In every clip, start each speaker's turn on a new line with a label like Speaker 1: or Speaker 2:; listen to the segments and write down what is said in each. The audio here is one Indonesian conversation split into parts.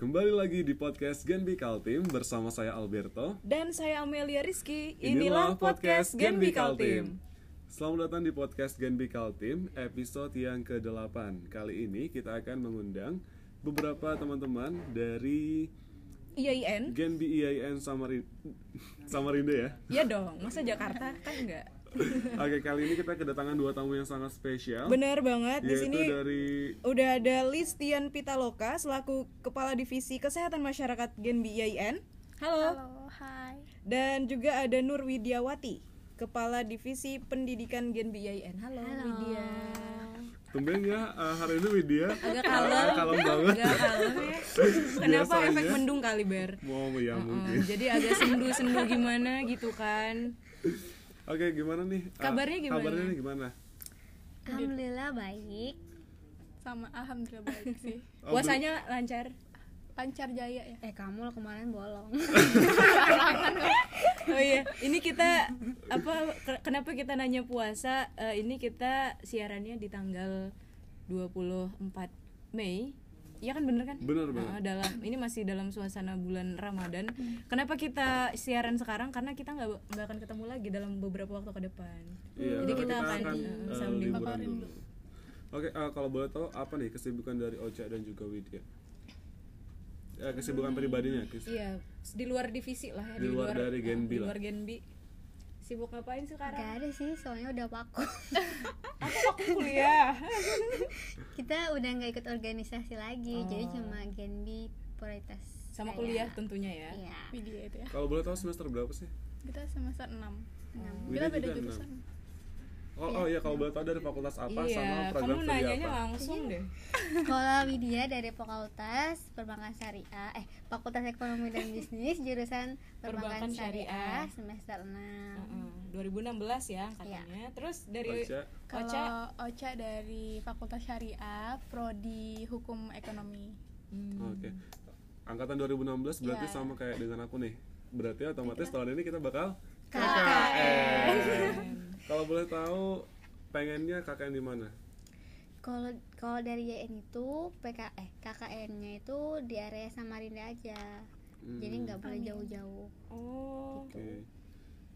Speaker 1: Kembali lagi di podcast Genbi Kaltim bersama saya Alberto.
Speaker 2: Dan saya Amelia Rizky. Inilah, podcast Genbi Kaltim.
Speaker 1: Selamat datang di podcast Genbi Kaltim, episode yang ke-8. Kali ini kita akan mengundang beberapa teman-teman dari
Speaker 2: IAIN?
Speaker 1: Genbi E IAIN Samarin- Samarinda ya.
Speaker 2: Ya dong, masa Jakarta kan enggak.
Speaker 1: Oke, kali ini kita kedatangan dua tamu yang sangat spesial.
Speaker 2: Benar banget di
Speaker 1: yaitu
Speaker 2: sini
Speaker 1: dari
Speaker 2: udah ada Listian Pitaloka selaku Kepala Divisi Kesehatan Masyarakat Genbi IAIN. Halo.
Speaker 3: Halo, hai.
Speaker 2: Dan juga ada Nur Widiawati, Kepala Divisi Pendidikan Genbi IAIN. Halo, Widya.
Speaker 1: tumben ya eh, hari ini Widya.
Speaker 2: Agak
Speaker 1: eh,
Speaker 2: kalem.
Speaker 1: kalem banget.
Speaker 2: Agak kalem ya. Kenapa
Speaker 1: Biasanya.
Speaker 2: efek mendung kali, Ber?
Speaker 1: Mau ya mungkin.
Speaker 2: Eh, jadi agak sendu-sendu gimana gitu kan.
Speaker 1: Oke, gimana nih? Eh,
Speaker 2: Kabarnya gimana?
Speaker 1: Kabarnya nih gimana?
Speaker 3: Gitu. Alhamdulillah baik.
Speaker 4: sama alhamdulillah baik sih
Speaker 1: Oh, belum-
Speaker 2: Puasanya lancar.
Speaker 4: lancar jaya ya
Speaker 3: Eh kamu lo kemarin bolong.
Speaker 2: Oh iya, ini kita apa ke- kenapa kita nanya puasa? Eh, ini kita siarannya di tanggal 24 Mei. Iya kan bener kan?
Speaker 1: Bener banget.
Speaker 2: Nah, dalam ini masih dalam suasana bulan Ramadan. Kenapa kita siaran sekarang? Karena kita nggak nggak akan ketemu lagi dalam beberapa waktu ke depan.
Speaker 1: Iya,
Speaker 2: Jadi
Speaker 1: karena
Speaker 2: kita akan,
Speaker 1: eh,
Speaker 2: eh, sounding.
Speaker 1: liburan dulu. Oke, eh, kalau boleh tahu apa nih kesibukan dari Ocha dan juga Widya? Eh,
Speaker 2: Hmm.
Speaker 1: kesibukan pribadinya, kes-
Speaker 2: Iya, di luar divisi lah ya,
Speaker 1: Di luar dari
Speaker 2: eh,
Speaker 1: Genbi
Speaker 2: di
Speaker 1: lah.
Speaker 2: luar Genbi. Sibuk ngapain sekarang?
Speaker 3: Gak ada sih, soalnya udah vakum.
Speaker 2: Aku kuliah.
Speaker 3: Kita udah nggak ikut organisasi lagi, jadi
Speaker 2: Oh.
Speaker 3: cuma genbi prioritas.
Speaker 2: Sama
Speaker 3: saya.
Speaker 2: kuliah tentunya ya.
Speaker 3: Iya.
Speaker 4: media itu ya
Speaker 1: Kalau boleh tahu semester berapa sih?
Speaker 4: kita semester 6
Speaker 1: Widya
Speaker 4: kita beda
Speaker 1: juga
Speaker 4: jurusan
Speaker 1: enam. Oh, oh iya kalau boleh tahu dari fakultas apa
Speaker 2: iya,
Speaker 1: sama program
Speaker 2: kamu
Speaker 1: studi
Speaker 2: nanyanya
Speaker 1: apa?
Speaker 2: langsung
Speaker 4: Iya.
Speaker 2: deh.
Speaker 3: Kalau Widya dari Fakultas Perbankan Syariah, eh Fakultas Ekonomi dan Bisnis jurusan
Speaker 2: Perbankan
Speaker 3: Perbankan, Syariah, Hmm.
Speaker 2: Syariah.
Speaker 3: semester 6.
Speaker 2: Heeh, 2016 ya angkatannya. Terus dari
Speaker 1: Ocha.
Speaker 2: Ocha
Speaker 4: Iya. kalau Ocha dari Fakultas Syariah Prodi Hukum Ekonomi
Speaker 2: Hmm.
Speaker 1: Oke. Angkatan 2016 berarti
Speaker 4: Iya.
Speaker 1: sama kayak dengan aku nih. Berarti otomatis
Speaker 2: Iya.
Speaker 1: tahun ini kita bakal Kalau boleh tahu pengennya KKN di mana?
Speaker 3: Kalau kalau dari YN itu PK eh KKN-nya itu di area Samarinda aja. Jadi
Speaker 1: Hmm.
Speaker 3: nggak boleh jauh-jauh.
Speaker 2: Oh.
Speaker 1: Oke.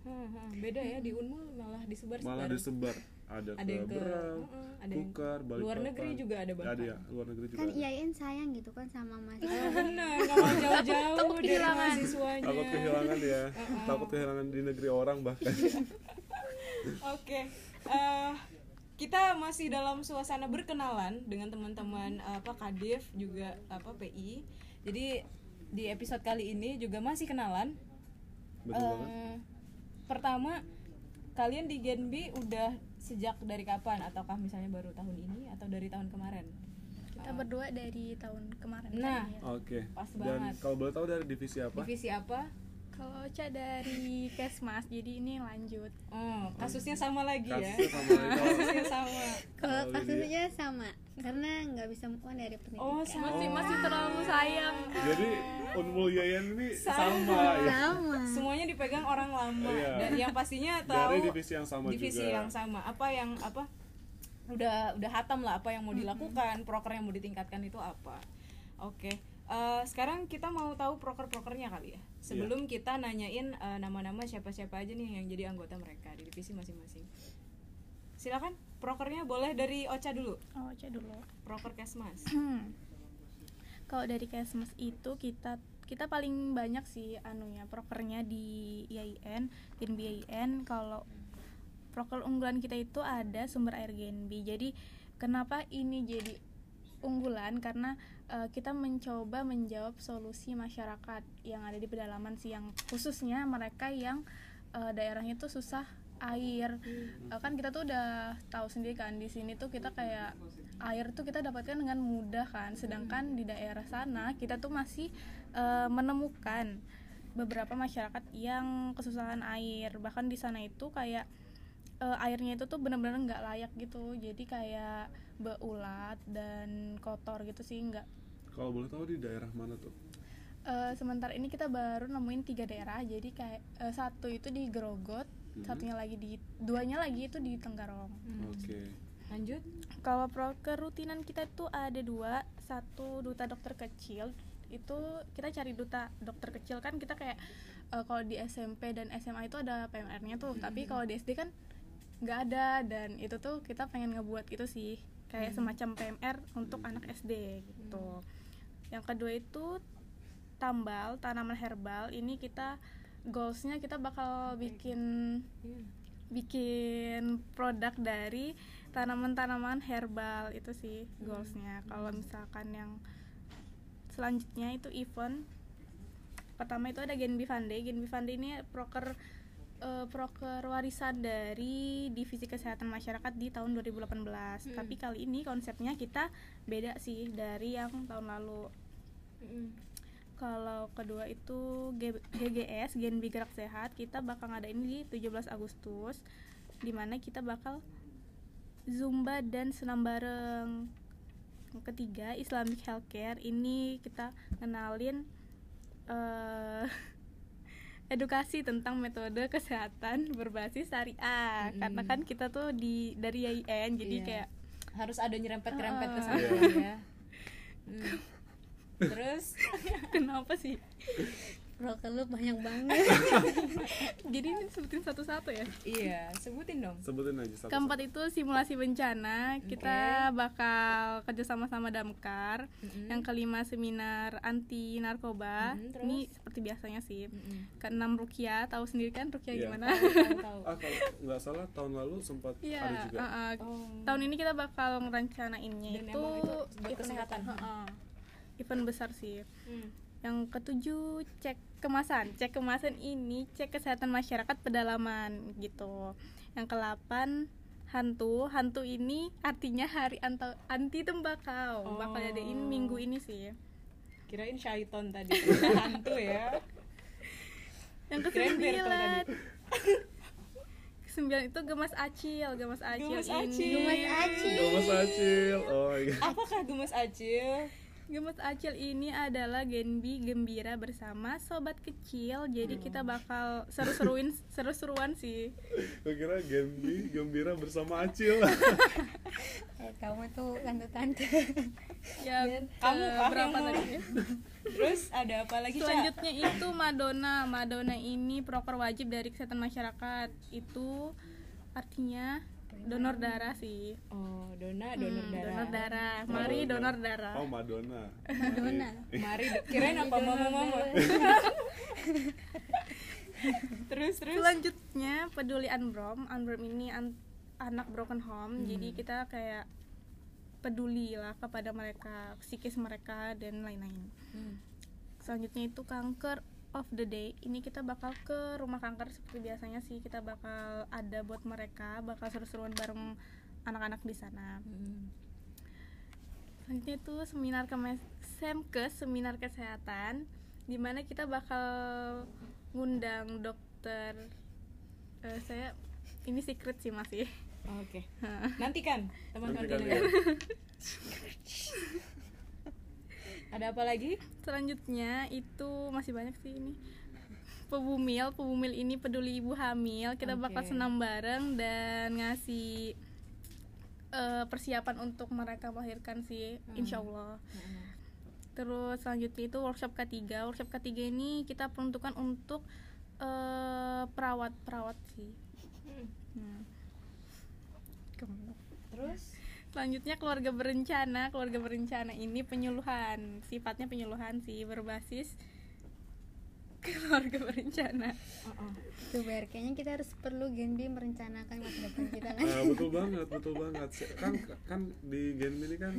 Speaker 2: Hah, hah. Beda ya di Unmul malah disebar
Speaker 1: Malah disebar ada,
Speaker 2: Ada yang ke
Speaker 1: Berang,
Speaker 2: heeh, ada yang
Speaker 1: Kukar,
Speaker 2: luar
Speaker 1: Balikpapan.
Speaker 2: negeri juga ada bahkan.
Speaker 1: Ada ya, luar negeri juga.
Speaker 3: kan
Speaker 1: ada.
Speaker 3: IAIN sayang gitu kan sama mas
Speaker 2: Oh, benar, nggak mau jauh-jauh
Speaker 4: takut
Speaker 2: dari
Speaker 4: kehilangan.
Speaker 2: mahasiswanya.
Speaker 1: Takut kehilangan ya. Takut kehilangan di negeri orang bahkan.
Speaker 2: Oke, eh, kita masih dalam suasana berkenalan dengan teman-teman eh, apa Kadif juga apa PI. Jadi di episode kali ini juga masih kenalan.
Speaker 1: Betul
Speaker 2: Eh,
Speaker 1: banget.
Speaker 2: Pertama, kalian di Genbi udah sejak dari kapan? Ataukah misalnya baru tahun ini atau dari tahun kemarin?
Speaker 4: kita berdua dari tahun kemarin
Speaker 2: Nah,
Speaker 4: kayaknya.
Speaker 1: Oke.
Speaker 2: Pas
Speaker 1: Dan
Speaker 2: banget.
Speaker 1: kalau boleh tahu dari divisi apa?
Speaker 2: divisi apa?
Speaker 4: kalau Ocha dari Kesmas jadi ini lanjut
Speaker 2: Oh, kasusnya sama lagi ya.
Speaker 1: Kasusnya sama lagi.
Speaker 2: Kasusnya sama.
Speaker 3: kalau
Speaker 1: Oh,
Speaker 3: kasusnya sama karena nggak bisa move on dari
Speaker 2: Oh,
Speaker 3: pendidikan
Speaker 2: sama.
Speaker 4: masih masih terlalu sayang
Speaker 1: Jadi Unmul Yayan ini
Speaker 2: Sama.
Speaker 1: sama ya.
Speaker 3: sama
Speaker 2: Semuanya dipegang orang lama
Speaker 1: Iya.
Speaker 2: dan yang pastinya
Speaker 1: Dari
Speaker 2: tahu
Speaker 1: divisi yang sama
Speaker 2: divisi
Speaker 1: juga.
Speaker 2: yang sama apa yang apa udah udah hatam lah apa yang mau dilakukan proker yang mau ditingkatkan itu apa oke eh, sekarang kita mau tahu proker-prokernya kali ya
Speaker 1: Iya.
Speaker 2: sebelum kita nanyain eh, nama-nama siapa-siapa aja nih yang jadi anggota mereka di divisi masing-masing silakan prokernya boleh dari Ocha dulu
Speaker 4: oh, Ocha dulu
Speaker 2: proker kesmas
Speaker 4: kalau dari Kesmas itu kita kita paling banyak sih anunya prokernya di IAIN, Genb IAIN. Kalau proker unggulan kita itu ada sumber air Genb. Jadi kenapa ini jadi unggulan karena eh, kita mencoba menjawab solusi masyarakat yang ada di pedalaman sih yang khususnya mereka yang eh, daerahnya tuh susah air Eh, kan kita tuh udah tahu sendiri kan di sini tuh kita kayak air tuh kita dapatkan dengan mudah kan sedangkan di daerah sana kita tuh masih eh, menemukan beberapa masyarakat yang kesusahan air bahkan di sana itu kayak eh, airnya itu tuh bener-bener nggak layak gitu jadi kayak beulat dan kotor gitu sih nggak
Speaker 1: Kalau boleh tahu di daerah mana tuh?
Speaker 4: Eh, sementara ini kita baru nemuin tiga daerah jadi kayak eh, satu itu di Grogot satunya lagi di duanya lagi itu di Tenggarong
Speaker 2: Hmm.
Speaker 1: Oke.
Speaker 2: Lanjut.
Speaker 4: Kalau proker rutinan kita itu ada dua, satu duta dokter kecil itu kita cari duta dokter kecil kan kita kayak eh, kalau di SMP dan SMA itu ada PMR-nya tuh, tapi kalau di SD kan nggak ada dan itu tuh kita pengen ngebuat gitu sih kayak semacam PMR untuk anak SD gitu. Yang kedua itu tambal tanaman herbal ini kita goalsnya kita bakal bikin
Speaker 2: Iya.
Speaker 4: bikin produk dari tanaman-tanaman herbal itu sih goalsnya kalau misalkan yang selanjutnya itu event pertama itu ada Genbi Fande Genbi Fande ini proker eh, proker warisan dari divisi kesehatan masyarakat di tahun 2018 tapi kali ini konsepnya kita beda sih dari yang tahun lalu kalau kedua itu G- GGS Genbi Gerak Sehat kita bakal ngadain di 17 Agustus dimana kita bakal Zumba dan senam bareng Yang ketiga Islamic Healthcare ini kita kenalin eh edukasi tentang metode kesehatan berbasis syariah
Speaker 2: Mm-mm.
Speaker 4: karena kan kita tuh di dari YIN jadi
Speaker 2: Iya.
Speaker 4: kayak
Speaker 2: Harus ada nyerempet-nyerempet ke sana ya. Hmm. Terus
Speaker 4: kenapa sih
Speaker 3: Proker lu banyak banget.
Speaker 4: jadi ini sebutin satu-satu ya
Speaker 2: iya, sebutin dong.
Speaker 1: Sebutin aja satu.
Speaker 4: Keempat itu simulasi bencana. Kita bakal kerja sama-sama damkar.
Speaker 2: Mm-mm.
Speaker 4: Yang kelima seminar anti narkoba.
Speaker 2: Mm, terus?
Speaker 4: Ini seperti biasanya sih.
Speaker 2: Mm-mm.
Speaker 4: Keenam rukia, tahu sendiri kan rukia
Speaker 1: Iya.
Speaker 4: gimana?
Speaker 2: Tahu, tahu.
Speaker 1: Ah kalau nggak salah tahun lalu sempat ada
Speaker 4: Iya.
Speaker 1: juga.
Speaker 4: uh-uh.
Speaker 2: Oh.
Speaker 4: Tahun ini kita bakal ngerencanainnya
Speaker 2: Dan
Speaker 4: itu,
Speaker 2: emang itu buat
Speaker 4: event-
Speaker 2: kesehatan.
Speaker 4: uh-uh. Event besar sih.
Speaker 2: Hmm.
Speaker 4: Yang ketujuh cek kemasan. Cek kemasan ini cek kesehatan masyarakat pedalaman gitu. Yang kelapan hantu. Hantu ini artinya hari anto- anti tembakau.
Speaker 2: Oh.
Speaker 4: Bakal adain minggu ini sih.
Speaker 2: Kirain syaiton tadi. Hantu ya.
Speaker 4: Yang
Speaker 2: Kirain Berto
Speaker 4: kesembilan. Kesembilan itu gemas acil, gemas acil
Speaker 2: Gemas
Speaker 4: ini.
Speaker 2: acil.
Speaker 3: Gemas acil.
Speaker 1: Thomas Iya, Acil. Oh iya.
Speaker 2: Apakah gemes acil?
Speaker 4: Gemas Acil ini adalah Genbi Gembira bersama sobat kecil. Jadi kita bakal seru-seruin seru-seruan sih.
Speaker 1: Gue kira Gembi gembira bersama Acil.
Speaker 3: eh, kamu tuh tante-tante.
Speaker 4: Yang
Speaker 2: Kamu
Speaker 4: eh,
Speaker 2: kah
Speaker 4: berapa
Speaker 2: yang mau?
Speaker 4: tadi?
Speaker 2: Terus ada apa lagi, Ca?
Speaker 4: Selanjutnya itu Madonna. Madonna ini proker wajib dari kesehatan masyarakat. Itu artinya donor darah sih.
Speaker 2: Oh, dona donor
Speaker 4: Hmm,
Speaker 2: darah.
Speaker 4: Donor darah. Mari donor darah.
Speaker 1: Oh Madonna.
Speaker 3: Madonna.
Speaker 2: Mari kirain apa mama-mama. terus terus.
Speaker 4: Selanjutnya peduli Unbrom. Unbrom ini an- anak broken
Speaker 2: Hmm.
Speaker 4: home. Jadi kita kayak peduli lah kepada mereka, psikis mereka dan lain-lain.
Speaker 2: Hmm.
Speaker 4: Selanjutnya itu kanker of the day. Ini kita bakal ke rumah kanker seperti biasanya sih. Kita bakal ada buat mereka, bakal seru-seruan bareng anak-anak di sana.
Speaker 2: Hmm.
Speaker 4: Selanjutnya itu seminar ke Semkes, seminar kesehatan di mana kita bakal ngundang dokter eh, saya ini secret sih masih.
Speaker 2: Oke. Nantikan teman-teman
Speaker 1: Nantikan
Speaker 2: pendengar.
Speaker 1: ya. iya.
Speaker 2: Ada apa lagi?
Speaker 4: Selanjutnya itu masih banyak sih ini. Pebumil, pebumil ini peduli ibu hamil. Kita bakal
Speaker 2: Oke.
Speaker 4: senam bareng dan ngasih eh, persiapan untuk mereka melahirkan sih, insya Allah. Terus selanjutnya itu workshop ketiga. Workshop ketiga ini kita peruntukkan untuk eh, perawat-perawat sih. Hmm.
Speaker 2: Terus
Speaker 4: Selanjutnya keluarga berencana. Keluarga berencana ini penyuluhan, sifatnya penyuluhan sih berbasis keluarga berencana.
Speaker 2: Uh-uh.
Speaker 3: Tuh Ber, kayaknya kita harus perlu Genbi merencanakan masa depan kita kan.
Speaker 1: Ah, betul banget, betul banget. Se- Kan kan di Gen ini kan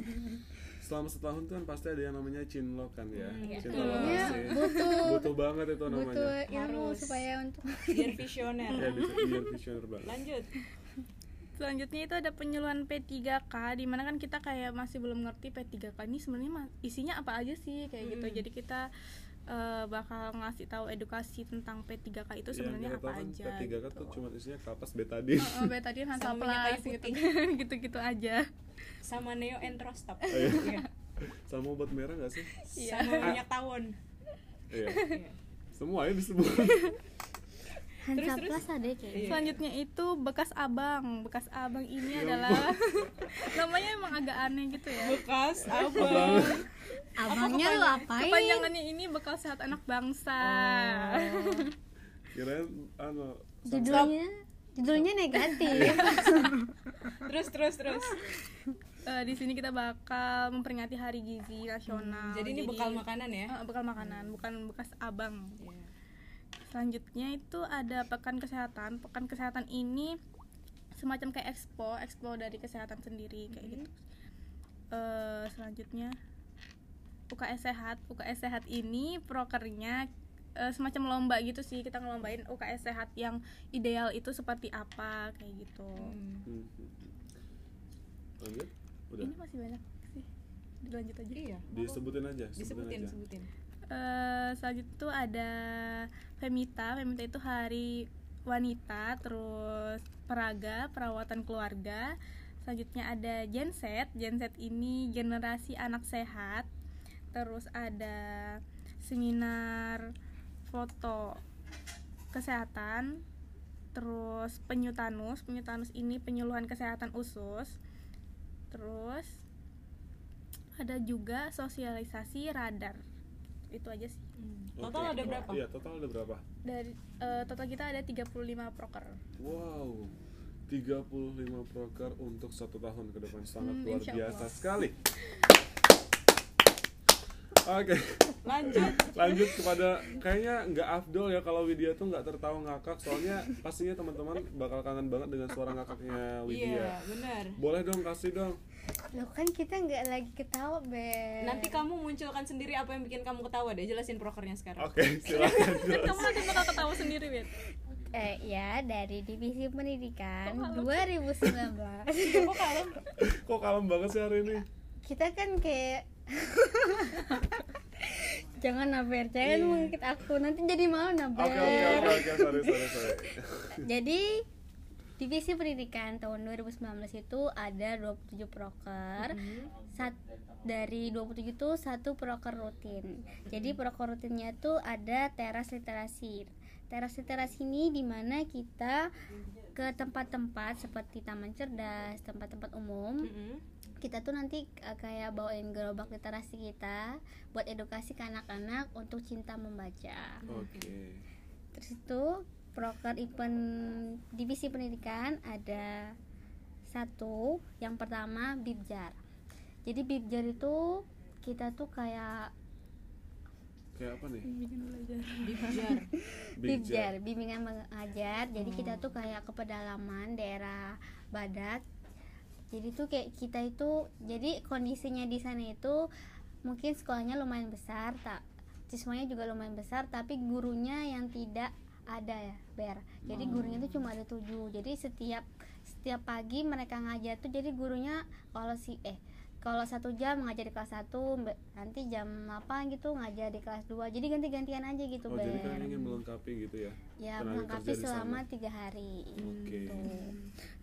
Speaker 1: selama setahun tuh kan pasti ada yang namanya cinlok kan ya.
Speaker 3: Iya,
Speaker 1: Cinlokasi.
Speaker 3: butuh
Speaker 1: Butuh banget itu
Speaker 3: butuh
Speaker 1: namanya.
Speaker 3: ilmu
Speaker 2: Harus.
Speaker 3: supaya untuk
Speaker 2: biar
Speaker 1: Ya
Speaker 2: visioner.
Speaker 1: bisa biar visioner banget.
Speaker 2: Lanjut.
Speaker 4: Selanjutnya itu ada penyuluhan P3K di mana kan kita kayak masih belum ngerti P3K ini sebenarnya ma- isinya apa aja sih kayak gitu.
Speaker 1: Hmm.
Speaker 4: Jadi kita eh, bakal ngasih tahu edukasi tentang P3K itu
Speaker 1: Yang
Speaker 4: sebenarnya
Speaker 1: kita
Speaker 4: apa
Speaker 1: tahu kan
Speaker 4: aja.
Speaker 1: P3K
Speaker 4: gitu.
Speaker 1: tuh cuma isinya kapas betadin.
Speaker 4: Oh, oh, betadine,
Speaker 2: Sama minyak
Speaker 4: Hansaplast,
Speaker 2: kayu
Speaker 4: gitu
Speaker 2: putih.
Speaker 4: kan. gitu-gitu aja.
Speaker 2: Sama Neo Entrostop.
Speaker 1: iya.
Speaker 2: Iya.
Speaker 1: Sama obat merah gak sih?
Speaker 4: Iya.
Speaker 2: Sama minyak tawon.
Speaker 1: Iya.
Speaker 2: Iya.
Speaker 1: Semua ya disebut.
Speaker 2: Terus,
Speaker 3: Hansa
Speaker 2: terus.
Speaker 3: Plus ada ya kayaknya.
Speaker 2: Iya.
Speaker 4: Selanjutnya itu bekas abang. Bekas abang ini
Speaker 1: Ya
Speaker 4: adalah namanya emang agak aneh gitu ya.
Speaker 2: bekas abang
Speaker 3: Abangnya
Speaker 4: kepanjang-
Speaker 3: lu apain?
Speaker 4: Kepanjangannya ini bekal sehat anak bangsa.
Speaker 2: Oh.
Speaker 1: Kirain anu
Speaker 3: Judulnya judulnya negatif.
Speaker 2: terus terus terus
Speaker 4: Eh, di sini kita bakal memperingati Hari Gizi Nasional.
Speaker 2: Hmm, jadi ini bekal makanan ya
Speaker 4: Eh, bekal makanan, bukan bekas abang. Selanjutnya itu ada pekan kesehatan. Pekan kesehatan ini semacam kayak expo, expo dari kesehatan sendiri kayak gitu. Eh, selanjutnya UKS sehat. UKS sehat ini prokernya eh, semacam lomba gitu sih. Kita ngelombain UKS sehat yang ideal itu seperti apa kayak gitu.
Speaker 2: Hmm.
Speaker 1: Hmm. Lanjut? Udah.
Speaker 4: Ini masih banyak sih. Dilanjut aja.
Speaker 2: iya
Speaker 1: Disebutin aja,
Speaker 2: disebutin
Speaker 1: aja.
Speaker 2: disebutin
Speaker 4: eh selanjutnya tuh ada Femita. Femita itu hari wanita, terus peraga, perawatan keluarga. Selanjutnya ada genset. Genset ini generasi anak sehat. Terus ada seminar foto kesehatan. Terus penyutanus. Penyutanus ini penyuluhan kesehatan usus. Terus ada juga sosialisasi radar. Itu aja sih.
Speaker 1: Hmm. Oke,
Speaker 2: total ada
Speaker 1: to-
Speaker 2: berapa
Speaker 1: Iya, total ada berapa?
Speaker 4: dari eh, total kita ada 35 proker.
Speaker 1: Wow. 35 proker untuk satu tahun ke depan sangat
Speaker 4: Hmm,
Speaker 1: luar
Speaker 4: insya
Speaker 1: biasa
Speaker 4: Allah.
Speaker 1: sekali. Oke, Iya,
Speaker 2: lanjut
Speaker 1: lanjut kepada kayaknya nggak afdol ya kalau Widya tuh nggak tertawa ngakak soalnya pastinya teman-teman bakal kangen banget dengan suara ngakaknya Widya.
Speaker 2: iya benar
Speaker 1: Boleh dong kasih dong.
Speaker 3: Loh kan kita nggak lagi ketawa, Beb.
Speaker 2: nanti kamu munculkan sendiri apa yang bikin kamu ketawa deh jelasin prokernya sekarang
Speaker 1: Oke, silakan.
Speaker 4: Kan kamu nanti bakal ketawa sendiri, Wit.
Speaker 3: eh ya dari divisi pendidikan 2019.
Speaker 2: kok kalem
Speaker 1: Kok kalem banget sih hari ini?
Speaker 3: kita kan kayak Jangan naber, jangan mengungkit aku. Nanti jadi malu naber.
Speaker 1: Iya. Oke oke oke oke sorry sorry sorry.
Speaker 3: Jadi divisi pendidikan tahun 2019 itu ada 27 proker. Sat- dari 27 itu satu proker rutin. Jadi proker rutinnya tuh ada teras literasi. Teras literasi ini dimana kita ke tempat-tempat seperti taman cerdas, tempat-tempat umum.
Speaker 2: Mm-mm.
Speaker 3: Kita tuh nanti eh, kayak bawain gerobak literasi kita buat edukasi ke anak-anak untuk cinta membaca.
Speaker 1: Oke.
Speaker 3: Terus itu proker event divisi pendidikan ada satu, yang pertama bibjar. Jadi bibjar itu kita tuh kayak
Speaker 1: Kayak apa nih?
Speaker 2: Bijar.
Speaker 1: Bijak.
Speaker 3: bibjar, bimbingan mengajar. Jadi
Speaker 1: Hmm.
Speaker 3: kita tuh kayak ke pedalaman daerah badat. Jadi tuh kayak kita itu jadi kondisinya di sana itu mungkin sekolahnya lumayan besar, tak siswanya juga lumayan besar, tapi gurunya yang tidak ada ya, Ber. Jadi
Speaker 1: Hmm.
Speaker 3: gurunya itu cuma ada tujuh. Jadi setiap setiap pagi mereka ngajar tuh jadi gurunya kalau si eh kalau satu jam ngajar di kelas 1 nanti jam 8 gitu ngajar di kelas 2 jadi ganti-gantian aja gitu
Speaker 1: Oh
Speaker 3: Ber
Speaker 1: jadi kalian ingin melengkapi gitu ya?
Speaker 3: ya
Speaker 1: tenaga
Speaker 3: melengkapi
Speaker 1: kerja di sana.
Speaker 3: selama tiga hari
Speaker 1: Oke.
Speaker 3: gitu.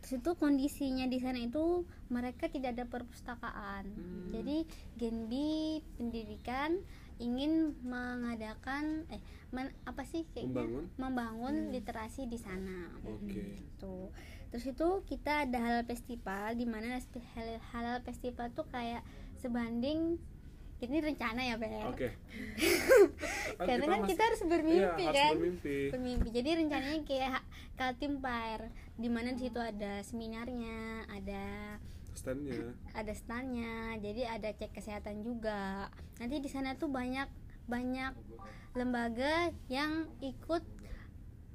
Speaker 3: terus itu kondisinya di sana itu mereka tidak ada perpustakaan
Speaker 1: Hmm.
Speaker 3: jadi Genbi pendidikan ingin mengadakan eh men- apa sih kayaknya
Speaker 1: Membangun?
Speaker 3: membangun literasi di sana
Speaker 1: Oke.
Speaker 3: gitu terus itu kita ada halal festival di mana spe- hal- halal festival tuh kayak sebanding ini rencana ya Bel
Speaker 1: Oke. Ah,
Speaker 3: karena kan
Speaker 1: mas-
Speaker 3: kita harus bermimpi
Speaker 1: iya, harus
Speaker 3: kan
Speaker 1: bermimpi.
Speaker 3: pemimpi jadi rencananya kayak kaltim Pair, di mana di situ ada seminarnya ada
Speaker 1: Standnya.
Speaker 3: ada standnya jadi ada cek kesehatan juga nanti di sana tuh banyak banyak lembaga yang ikut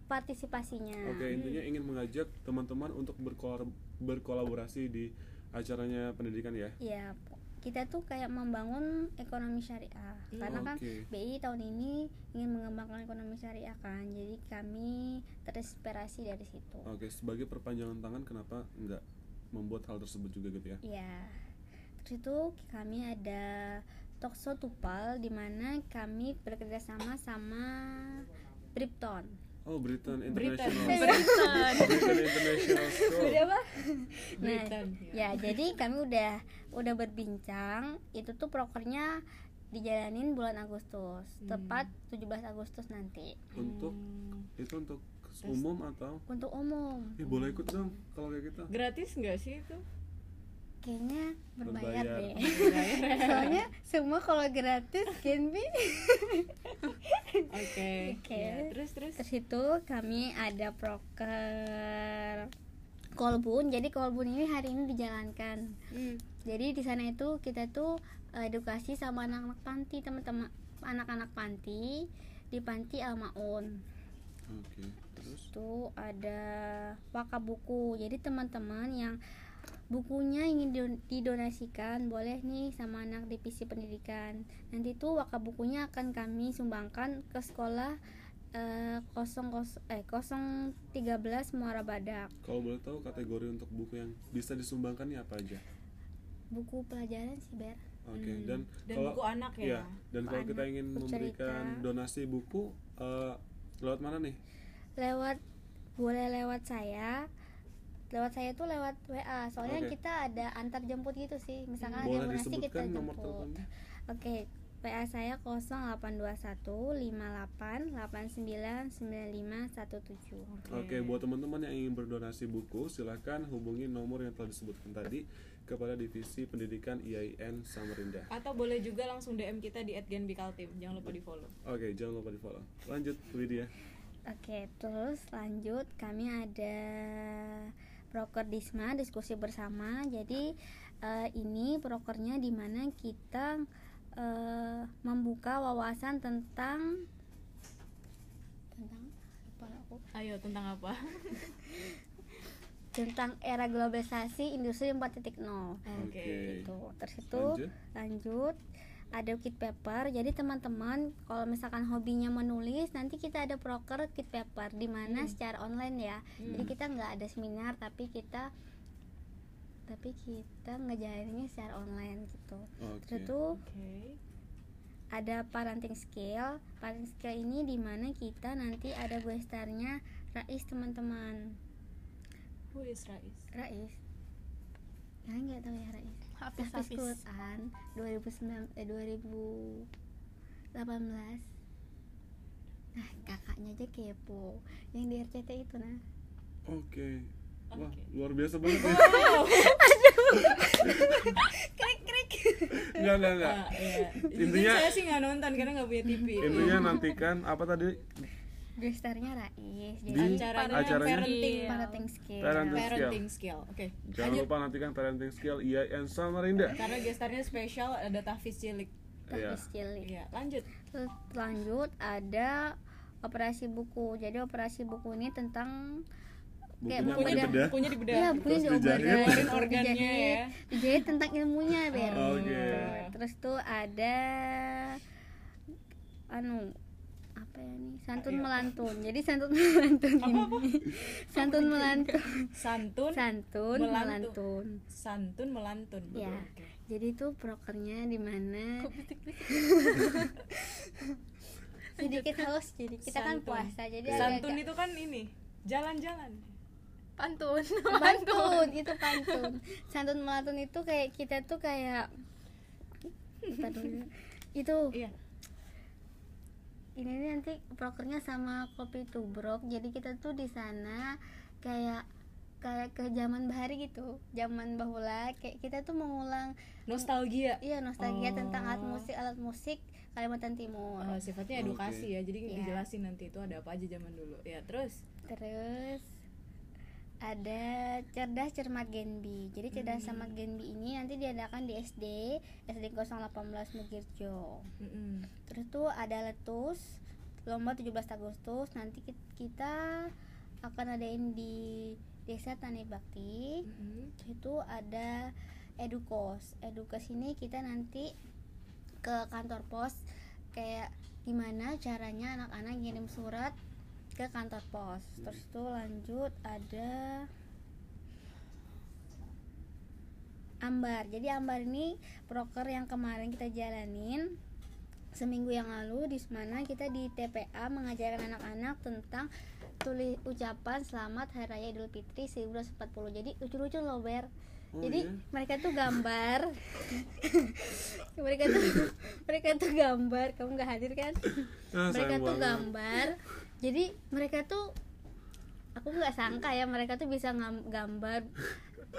Speaker 3: partisipasinya
Speaker 1: Oke intinya ingin mengajak teman-teman untuk berkolor- berkolaborasi di acaranya pendidikan ya.
Speaker 3: ya kita tuh kayak membangun ekonomi syariah karena kan
Speaker 1: Hmm, Oke.
Speaker 3: BI tahun ini ingin mengembangkan ekonomi syariah kan jadi kami terinspirasi dari situ
Speaker 1: Oke sebagai perpanjangan tangan kenapa nggak membuat hal tersebut juga gitu ya?
Speaker 3: Ya, terus itu kami ada Tokso Tupal di mana kami bekerja sama sama Bripton.
Speaker 1: Oh Britain
Speaker 2: Britain.
Speaker 1: International. Britain International School.
Speaker 3: apa? Nah,
Speaker 2: Britain,
Speaker 3: ya jadi kami udah udah berbincang itu tuh prokernya dijalanin bulan Agustus, tepat 17 Agustus nanti.
Speaker 1: Untuk itu untuk
Speaker 2: Terus
Speaker 1: umum atau
Speaker 3: untuk umum
Speaker 1: ya boleh ikut dong kalau kayak gitu. kita
Speaker 2: gratis nggak sih itu?
Speaker 3: kayaknya berbayar,
Speaker 1: Berbayar.
Speaker 3: deh soalnya semua kalau gratis Genbi
Speaker 2: Oke.
Speaker 3: Oke.
Speaker 2: Ya, terus terus.
Speaker 3: terus itu kami ada proker kolbun jadi kolbun ini hari ini dijalankan
Speaker 2: Hmm.
Speaker 3: jadi di sana itu kita tuh eh, edukasi sama anak-anak panti teman-teman anak-anak panti di panti Almaun
Speaker 1: oke terus
Speaker 3: itu ada waka buku jadi teman-teman yang bukunya ingin didon- didonasikan boleh nih sama anak divisi pendidikan nanti tuh waka bukunya akan kami sumbangkan ke sekolah eh, 00 eh 013 Muara Badak
Speaker 1: kalau boleh tahu kategori untuk buku yang bisa disumbangkan nih apa aja
Speaker 3: buku pelajaran sih Ber
Speaker 1: oke
Speaker 2: Hmm.
Speaker 1: dan
Speaker 2: Dan
Speaker 1: kalau
Speaker 2: buku anak ya.
Speaker 1: Iya, dan kalau
Speaker 3: Buku
Speaker 1: kita
Speaker 3: anak,
Speaker 1: ingin
Speaker 3: buku
Speaker 1: memberikan
Speaker 3: cerita.
Speaker 1: donasi buku eh, lewat mana nih
Speaker 3: lewat boleh lewat saya lewat saya tuh lewat WA soalnya
Speaker 1: Oke.
Speaker 3: kita ada antar jemput gitu sih misalkan ada
Speaker 1: boleh
Speaker 3: yang donasi kita
Speaker 1: disebutkan nomor
Speaker 3: jemput
Speaker 1: teleponnya
Speaker 3: Oke, PA saya 0821 58 89 95 17.
Speaker 1: Oke, buat teman-teman yang ingin berdonasi buku, silahkan hubungi nomor yang telah disebutkan tadi kepada Divisi Pendidikan IAIN Samarinda.
Speaker 2: Atau boleh juga langsung DM kita di @genbikaltim. Jangan lupa di follow.
Speaker 1: Oke, jangan lupa di follow. Lanjut, Widya.
Speaker 3: Oke, terus lanjut kami ada proker Disma diskusi bersama. Jadi eh, ini prokernya di mana kita eh, membuka wawasan tentang tentang apa aku
Speaker 2: Ayo tentang apa?
Speaker 3: tentang era globalisasi industri 4.0.
Speaker 1: Oke.
Speaker 3: Gitu. Terus itu
Speaker 1: Lanjut.
Speaker 3: lanjut ada kit paper jadi teman-teman kalau misalkan hobinya menulis nanti kita ada proker kit paper di mana secara online ya jadi kita nggak ada seminar tapi kita tapi kita ngejalaninnya secara online gitu
Speaker 1: Oke.
Speaker 3: terus tuh
Speaker 2: Oke.
Speaker 3: ada parenting skill parenting skill ini di mana kita nanti ada guestarnya Rais teman-teman
Speaker 2: Who is Rais?
Speaker 3: Rais ya nggak tahu ya Rais
Speaker 4: Hafiz
Speaker 3: Hafiz
Speaker 4: Hafiz.
Speaker 3: Quran 2009 eh 2018 nah kakaknya aja kepo yang di RCT itu nah
Speaker 1: Oke. Wah,
Speaker 2: Oke.
Speaker 1: luar biasa banget ya.
Speaker 3: krik krik
Speaker 1: Enggak, enggak, enggak.
Speaker 2: Ah, iya. Jujur
Speaker 1: Intinya-
Speaker 2: saya sih nggak nonton karena nggak punya TV.
Speaker 1: Intinya nantikan apa tadi?
Speaker 3: gestarnya Rais
Speaker 1: Di-
Speaker 2: Hmm.
Speaker 3: jadi
Speaker 2: Acaranya,
Speaker 1: Acaranya?
Speaker 2: parenting.
Speaker 3: parenting skill
Speaker 1: Parenting.
Speaker 2: Parenting skill. Oke.
Speaker 1: Jangan
Speaker 2: lanjut.
Speaker 1: lupa nantikan parenting skill IAIN Samarinda.
Speaker 2: Karena gestarnya spesial ada Tafis Cilik.
Speaker 1: Iya.
Speaker 3: Hafiz cilik
Speaker 2: Iya, lanjut.
Speaker 3: Terus lanjut ada operasi buku jadi operasi buku ini tentang
Speaker 1: Bukunya
Speaker 3: Kayak
Speaker 1: apa
Speaker 2: Punya
Speaker 1: di
Speaker 3: bukunya-
Speaker 1: bedah?
Speaker 2: punya di bedah. Gitu.
Speaker 3: Iya, bukunya
Speaker 1: Terus
Speaker 3: diobatin,
Speaker 1: dijahit.
Speaker 3: terus
Speaker 2: Organnya
Speaker 3: dijahit.
Speaker 2: ya.
Speaker 3: Dijahit tentang ilmunya, Ber.
Speaker 2: Oh,
Speaker 1: Oke.
Speaker 3: Terus tuh ada anu apa ya nih? Santun
Speaker 2: Ayo.
Speaker 3: melantun. Jadi santun melantun ini. Santun melantun.
Speaker 2: Santun,
Speaker 3: Santun
Speaker 2: Melantun.
Speaker 3: melantun.
Speaker 2: santun melantun.
Speaker 3: Ya.
Speaker 2: Oke.
Speaker 3: Jadi tuh prokernya di mana? sedikit halus jadi kita kan
Speaker 2: Santun.
Speaker 3: puasa jadi
Speaker 2: Santun itu kan ini jalan-jalan.
Speaker 4: Pantun.
Speaker 3: pantun itu pantun santun melantun itu kayak kita tuh kayak Bentar dulu. itu
Speaker 2: Iya.
Speaker 3: ini nih nanti prokernya sama kopi tubrok jadi kita tuh di sana kayak kayak ke zaman bahari gitu zaman bahula kayak kita tuh mengulang
Speaker 2: Nostalgia.
Speaker 3: iya nostalgia
Speaker 2: Oh.
Speaker 3: tentang alat musik alat musik Kalimantan Timur
Speaker 2: Eh, sifatnya edukasi
Speaker 1: Oke.
Speaker 2: ya. Jadi
Speaker 3: Iya.
Speaker 2: dijelasin nanti itu ada apa aja zaman dulu. Ya, terus
Speaker 3: terus ada cerdas cermat Genbi jadi cerdas cermat Genbi ini nanti diadakan di SD SD 018 Megirjo
Speaker 2: Mm-mm.
Speaker 3: Terus tuh ada letus lomba 17 Agustus nanti ki- kita akan adain di Desa Tani Bakti.
Speaker 2: Mm-mm.
Speaker 3: Terus itu ada edukos. Edukos ini kita nanti ke kantor pos kayak gimana caranya anak-anak ngirim surat ke kantor pos. Terus itu lanjut ada Ambar. Jadi Ambar ini proker yang kemarin kita jalanin seminggu yang lalu di mana kita di TPA mengajarkan anak-anak tentang tulis ucapan selamat hari raya Idul Fitri 1940. Jadi lucu-lucu loh, Ber.
Speaker 1: Oh,
Speaker 3: Jadi
Speaker 1: iya?
Speaker 3: mereka tuh gambar. mereka tuh mereka tuh gambar. Kamu nggak hadir kan?
Speaker 1: Ah,
Speaker 3: mereka
Speaker 1: sayang
Speaker 3: tuh
Speaker 1: banget.
Speaker 3: gambar. Jadi mereka tuh aku nggak sangka ya mereka tuh bisa ngam- gambar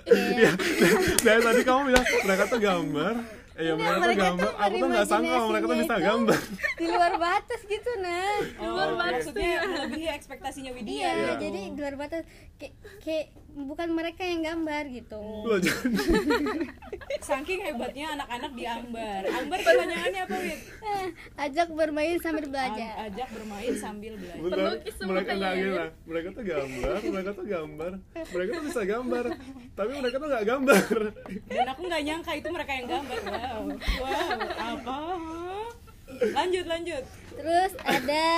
Speaker 1: Iya.
Speaker 3: kayak
Speaker 1: Dari tadi kamu bilang mereka tuh gambar. Iya mereka
Speaker 3: Enggak,
Speaker 1: tuh
Speaker 3: mereka tuh
Speaker 1: gambar. Aku tuh nggak sangka kalau mereka tuh bisa
Speaker 3: berimajinasinya itu.
Speaker 1: gambar. Oh,
Speaker 3: di luar batas gitu nah
Speaker 2: luar maksudnya melebihi ekspektasinya Widya
Speaker 3: iya
Speaker 2: gitu.
Speaker 3: jadi di luar batas kayak, kayak bukan mereka yang gambar gitu
Speaker 1: Loh, jadi-
Speaker 2: saking hebatnya anak-anak di Ambar Ambar kepanjangannya apa Wid?
Speaker 3: Eh, ajak bermain sambil
Speaker 2: Am-
Speaker 3: belajar
Speaker 2: ajak bermain sambil belajar
Speaker 1: Bentar,
Speaker 4: Pelukis semua
Speaker 1: mereka
Speaker 4: kayaknya
Speaker 1: nggak
Speaker 4: ya.
Speaker 3: gitu.
Speaker 1: gila. Mereka tuh gambar, mereka tuh gambar, mereka tuh bisa gambar, tapi mereka tuh nggak gambar.
Speaker 2: dan aku nggak nyangka itu mereka yang gambar wow wow apa lanjut lanjut
Speaker 3: terus ada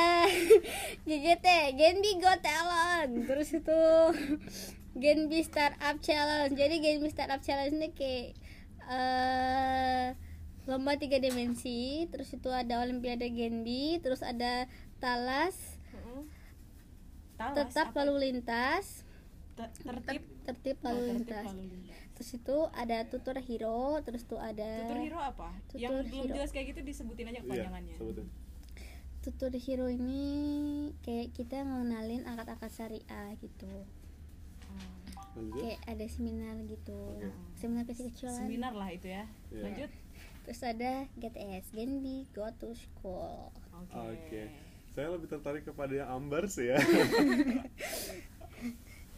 Speaker 3: JJT Genbi Got Talent terus itu Genbi Startup Challenge jadi Genbi Startup Challenge ini kayak eh, lomba tiga dimensi terus itu ada Olimpiade Genbi terus ada talas
Speaker 2: Talas,
Speaker 3: tetap
Speaker 2: apa?
Speaker 3: lalu lintas
Speaker 2: Ter- tertib Oh,
Speaker 3: tertib lalu
Speaker 2: Tertib
Speaker 3: lintas
Speaker 2: lalu lintas.
Speaker 3: terus itu ada tutur hero terus tuh ada
Speaker 2: Tutur hero apa?
Speaker 3: Eh, Tutur
Speaker 2: yang belum
Speaker 3: hero.
Speaker 2: jelas kayak gitu disebutin
Speaker 1: Iya,
Speaker 2: aja kepanjangannya.
Speaker 1: sebutin.
Speaker 3: tutur hero ini kayak kita ngenalin akad-akad syariah gitu
Speaker 1: Lanjut. ya.
Speaker 3: kayak ada seminar gitu
Speaker 1: Oke.
Speaker 3: seminar kecil-kecilan
Speaker 2: Seminar lah itu ya.
Speaker 1: Iya.
Speaker 2: Lanjut.
Speaker 3: terus ada GTS Genbi Go to School
Speaker 2: Oke.
Speaker 1: Oke. Saya lebih tertarik kepada yang ambar sih ya.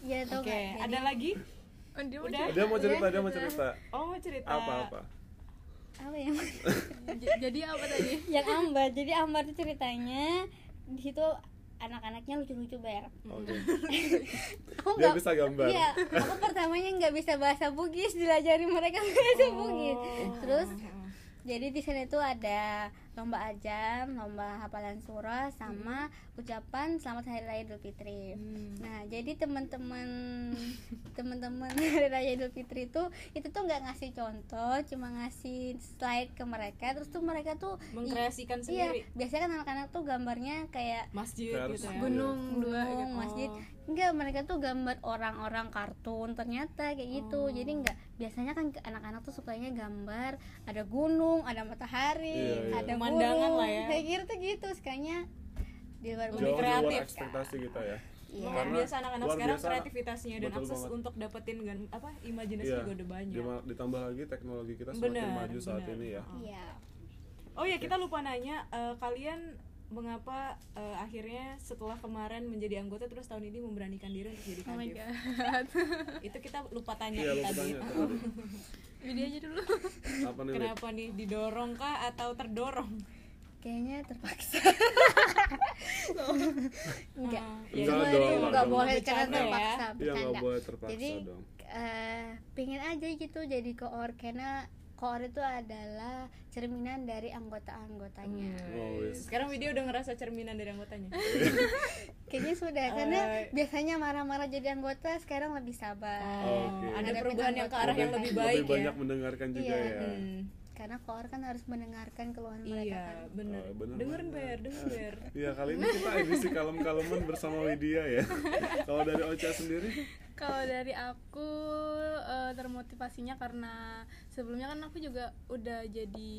Speaker 3: ya tau
Speaker 2: Oke,
Speaker 3: nggak? Jadi-
Speaker 2: ada lagi?
Speaker 4: Oh, dia mau
Speaker 2: Udah.
Speaker 4: cerita.
Speaker 1: Dia mau cerita, dia mau cerita.
Speaker 2: Oh, mau cerita.
Speaker 1: Apa-apa?
Speaker 3: apa yang
Speaker 4: J- Jadi apa tadi?
Speaker 3: yang ambar jadi ambar tuh ceritanya di situ anak-anaknya lucu-lucu banget
Speaker 1: Oke.
Speaker 3: aku
Speaker 1: Dia
Speaker 3: nggak-
Speaker 1: bisa gambar.
Speaker 3: Iya, aku pertamanya nggak bisa bahasa Bugis, dilajari mereka bahasa Bugis. gitu.
Speaker 2: Oh.
Speaker 3: Terus
Speaker 2: Hmm.
Speaker 3: jadi di sana itu ada lomba ajam, lomba hafalan surah sama ucapan selamat hari raya Idul Fitri.
Speaker 2: Hmm.
Speaker 3: Nah, jadi teman-teman teman-teman hari raya Idul Fitri itu itu tuh nggak ngasih contoh, cuma ngasih slide ke mereka. Terus tuh mereka tuh
Speaker 2: Mengkreasikan
Speaker 3: Iya,
Speaker 2: sendiri
Speaker 3: biasanya kan anak-anak tuh gambarnya kayak
Speaker 2: masjid
Speaker 1: Harus.
Speaker 2: gitu ya.
Speaker 1: Gun-
Speaker 4: Gunung dua
Speaker 3: Iya, gunung,
Speaker 4: gitu.
Speaker 3: masjid
Speaker 4: Oh.
Speaker 3: enggak mereka tuh gambar orang-orang kartun ternyata kayak gitu jadi enggak biasanya kan ke- anak-anak tuh sukanya gambar ada gunung ada matahari
Speaker 1: Iya, iya.
Speaker 3: ada
Speaker 2: Pemandangan lah
Speaker 3: burung,
Speaker 2: ya.
Speaker 3: kayak gitu gitu sukanya di luar
Speaker 1: Jauh
Speaker 2: Lebih
Speaker 1: di luar
Speaker 2: kreatif.
Speaker 1: ekspektasi kita ya.
Speaker 3: Iya.
Speaker 2: Luar
Speaker 1: Karena
Speaker 2: Kan biasa anak-anak
Speaker 1: luar
Speaker 2: sekarang
Speaker 1: biasa.
Speaker 2: kreativitasnya dan
Speaker 1: Betul
Speaker 2: akses
Speaker 1: banget.
Speaker 2: untuk dapetin gan, apa imajinasi
Speaker 1: Iya.
Speaker 2: juga udah banyak.
Speaker 1: Dima- Ditambah lagi teknologi kita semakin
Speaker 2: Benar,
Speaker 1: maju saat
Speaker 2: benar.
Speaker 1: ini ya.
Speaker 2: Oh.
Speaker 3: iya
Speaker 2: Oh ya kita lupa nanya eh, kalian mengapa eh, akhirnya setelah kemarin menjadi anggota terus tahun ini memberanikan diri untuk jadi
Speaker 4: Oh my
Speaker 2: kadif?
Speaker 4: god.
Speaker 2: Itu kita lupa tanya
Speaker 1: Iya, lu
Speaker 2: tadi.
Speaker 1: tanya tadi.
Speaker 4: Video aja dulu.
Speaker 1: Apa nih? Wid?
Speaker 2: Kenapa nih didorong kah atau terdorong?
Speaker 3: kayaknya terpaksa enggak
Speaker 2: Ya,
Speaker 1: Enggak
Speaker 3: Cuma
Speaker 1: dong,
Speaker 3: ini
Speaker 1: enggak dong.
Speaker 3: nggak Iya, boleh karena
Speaker 2: Bercanda ya.
Speaker 3: terpaksa
Speaker 1: Iya nggak
Speaker 3: bercanda.
Speaker 1: boleh terpaksa
Speaker 3: jadi
Speaker 1: dong.
Speaker 3: eh, pengen aja gitu jadi koor karena koor itu adalah cerminan dari anggota-anggotanya
Speaker 1: Oh,
Speaker 2: Eh,
Speaker 1: yes.
Speaker 2: Sekarang video udah ngerasa cerminan dari anggotanya.
Speaker 3: Kayaknya sudah karena
Speaker 2: Eh.
Speaker 3: biasanya marah-marah jadi anggota sekarang lebih sabar.
Speaker 2: Oh,
Speaker 1: Oke.
Speaker 2: Ada
Speaker 3: Ada
Speaker 2: perubahan yang ke arah yang lebih
Speaker 1: Lebih
Speaker 2: baik ya.
Speaker 1: banyak mendengarkan juga
Speaker 3: Iya,
Speaker 1: ya.
Speaker 2: Hmm,
Speaker 3: Karena koor kan harus mendengarkan keluhan mereka
Speaker 2: Iya,
Speaker 3: kan.
Speaker 2: bener.
Speaker 1: Oh, bener
Speaker 2: Dengerin
Speaker 1: banget.
Speaker 2: ber, denger ber.
Speaker 1: Iya kali ini kita edisi kalem-kaleman bersama Widya ya. Kalau dari Ocha sendiri,
Speaker 4: Kalau dari aku eh, termotivasinya karena sebelumnya kan aku juga udah jadi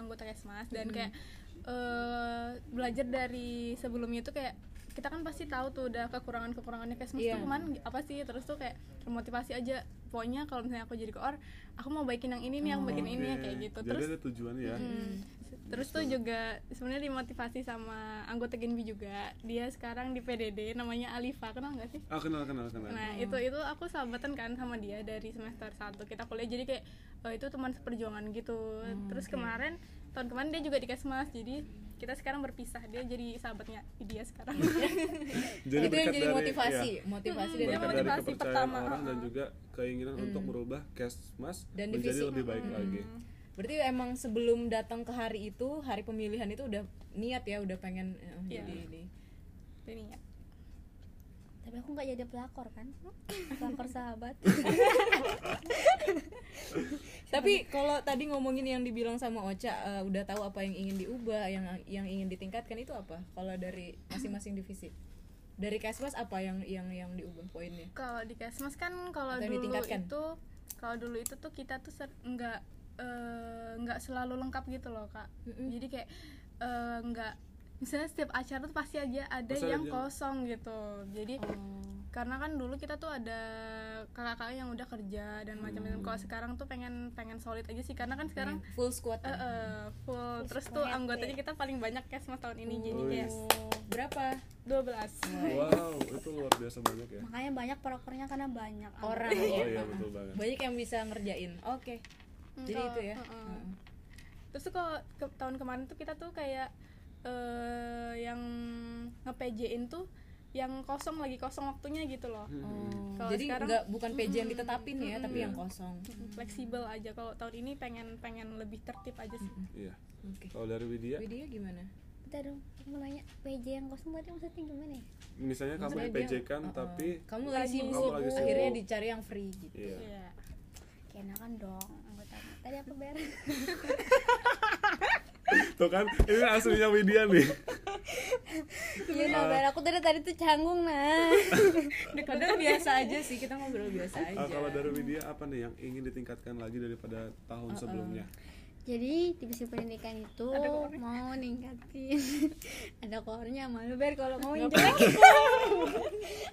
Speaker 4: anggota Kesmas dan kayak eh, belajar dari sebelumnya itu kayak kita kan pasti tahu tuh udah kekurangan-kekurangannya Kesmas
Speaker 2: Iya.
Speaker 4: tuh kemana apa sih terus tuh kayak termotivasi aja pokoknya kalau misalnya aku jadi koor aku mau baikin yang ini nih aku baikin ini
Speaker 1: Oke.
Speaker 4: kayak gitu
Speaker 1: Jadi Gitu.
Speaker 4: terus
Speaker 1: ada tujuannya ya.
Speaker 4: Hmm. Terus tuh juga sebenarnya dimotivasi sama anggota Genbi juga. Dia sekarang di PDD namanya Alifa. Kenal nggak sih?
Speaker 1: Ah kenal kenal kenal.
Speaker 4: Nah,
Speaker 2: Hmm.
Speaker 4: itu itu aku sahabatan kan sama dia dari semester 1 kita kuliah. Jadi kayak eh, itu teman seperjuangan gitu.
Speaker 2: Hmm,
Speaker 4: Terus kemarin tahun kemarin dia juga di Kesmas. Jadi kita sekarang berpisah. Dia jadi sahabatnya dia sekarang.
Speaker 1: Jadi
Speaker 2: itu yang
Speaker 1: berkat
Speaker 2: jadi
Speaker 1: dari-
Speaker 2: motivasi,
Speaker 1: iya,
Speaker 2: motivasi
Speaker 4: Jadi
Speaker 2: dari
Speaker 1: berkat dari
Speaker 4: motivasi
Speaker 1: kepercayaan
Speaker 4: pertama,
Speaker 1: orang dan
Speaker 4: uh-uh.
Speaker 1: juga keinginan untuk merubah kesmas
Speaker 2: Dan
Speaker 1: menjadi
Speaker 2: divisi,
Speaker 1: lebih baik lagi.
Speaker 4: Hmm.
Speaker 2: Berarti emang sebelum datang ke hari itu, hari pemilihan itu udah niat ya, udah pengen eh,
Speaker 4: Iya.
Speaker 2: jadi ini.
Speaker 4: Jadi ya.
Speaker 3: Tapi aku nggak jadi pelakor kan. pelakor sahabat.
Speaker 2: Tapi kalau tadi ngomongin yang dibilang sama Ocha, eh, udah tahu apa yang ingin diubah, yang yang ingin ditingkatkan itu apa? Kalau dari masing-masing divisi, dari Kesmas apa yang yang yang diubah poinnya?
Speaker 4: Kalau di Kesmas kan kalau
Speaker 2: Atau yang
Speaker 4: dulu
Speaker 2: ditingkatkan?
Speaker 4: itu kalau dulu itu tuh kita tuh ser- nggak eh, nggak selalu lengkap gitu loh kak. Jadi kayak eh, nggak misalnya setiap acara tuh pasti aja ada
Speaker 1: Pasti ada
Speaker 4: yang
Speaker 1: yang-
Speaker 4: kosong gitu jadi
Speaker 2: Oh.
Speaker 4: karena kan dulu kita tuh ada kakak-kakak yang udah kerja dan macam-macam kalau sekarang tuh pengen pengen solid aja sih karena kan sekarang
Speaker 2: Hmm, full squad
Speaker 4: eh, eh, full terus tuh anggotanya kita paling banyak ya mas tahun ini jadi kayak
Speaker 2: berapa
Speaker 4: 12
Speaker 1: Wow, itu luar biasa banyak ya.
Speaker 3: makanya banyak prokernya karena banyak
Speaker 2: orang
Speaker 1: Oh
Speaker 2: ya
Speaker 1: iya betul banget.
Speaker 2: banyak yang bisa ngerjain oke jadi
Speaker 4: Kalau-
Speaker 2: itu ya
Speaker 4: eh, eh.
Speaker 2: Heeh.
Speaker 4: terus tuh kalau ke- tahun kemarin tuh kita tuh kayak eh yang nge-PJ-in tuh yang kosong lagi kosong waktunya gitu loh
Speaker 2: Hmm.
Speaker 4: Kalau
Speaker 2: jadi
Speaker 4: sekarang-
Speaker 2: nggak bukan PJ yang ditetapin ya tapi
Speaker 1: mm.
Speaker 2: yang kosong
Speaker 4: fleksibel aja kalau tahun ini pengen pengen lebih tertib aja sih
Speaker 1: Iya.
Speaker 2: oke
Speaker 1: Kalau dari Widya,
Speaker 2: Widya gimana
Speaker 3: kita dong aku mau nanya PJ yang kosong tadi maksudnya gimana ya
Speaker 1: misalnya kamu
Speaker 2: Maksudnya
Speaker 1: di
Speaker 2: dia-
Speaker 1: PJ kan
Speaker 2: Heeh.
Speaker 1: tapi
Speaker 2: kamu lagi sibuk,
Speaker 1: Kamu lagi sibuk.
Speaker 2: akhirnya dicari yang free gitu
Speaker 1: iya.
Speaker 4: Iya.
Speaker 3: keenakan kan dong anggotanya tadi apa beres
Speaker 1: Tuh kan, ini aslinya Widya nih.
Speaker 3: iya nobar aku tadi tadi tuh canggung nah
Speaker 2: padahal biasa aja sih kita ngobrol biasa aja
Speaker 1: Iya. Ah, kalau dari Widya apa nih yang ingin ditingkatkan lagi daripada tahun sebelumnya?
Speaker 3: jadi divisi pendidikan itu mau ningkatin ada kornya malu ber kalau mau yang jelek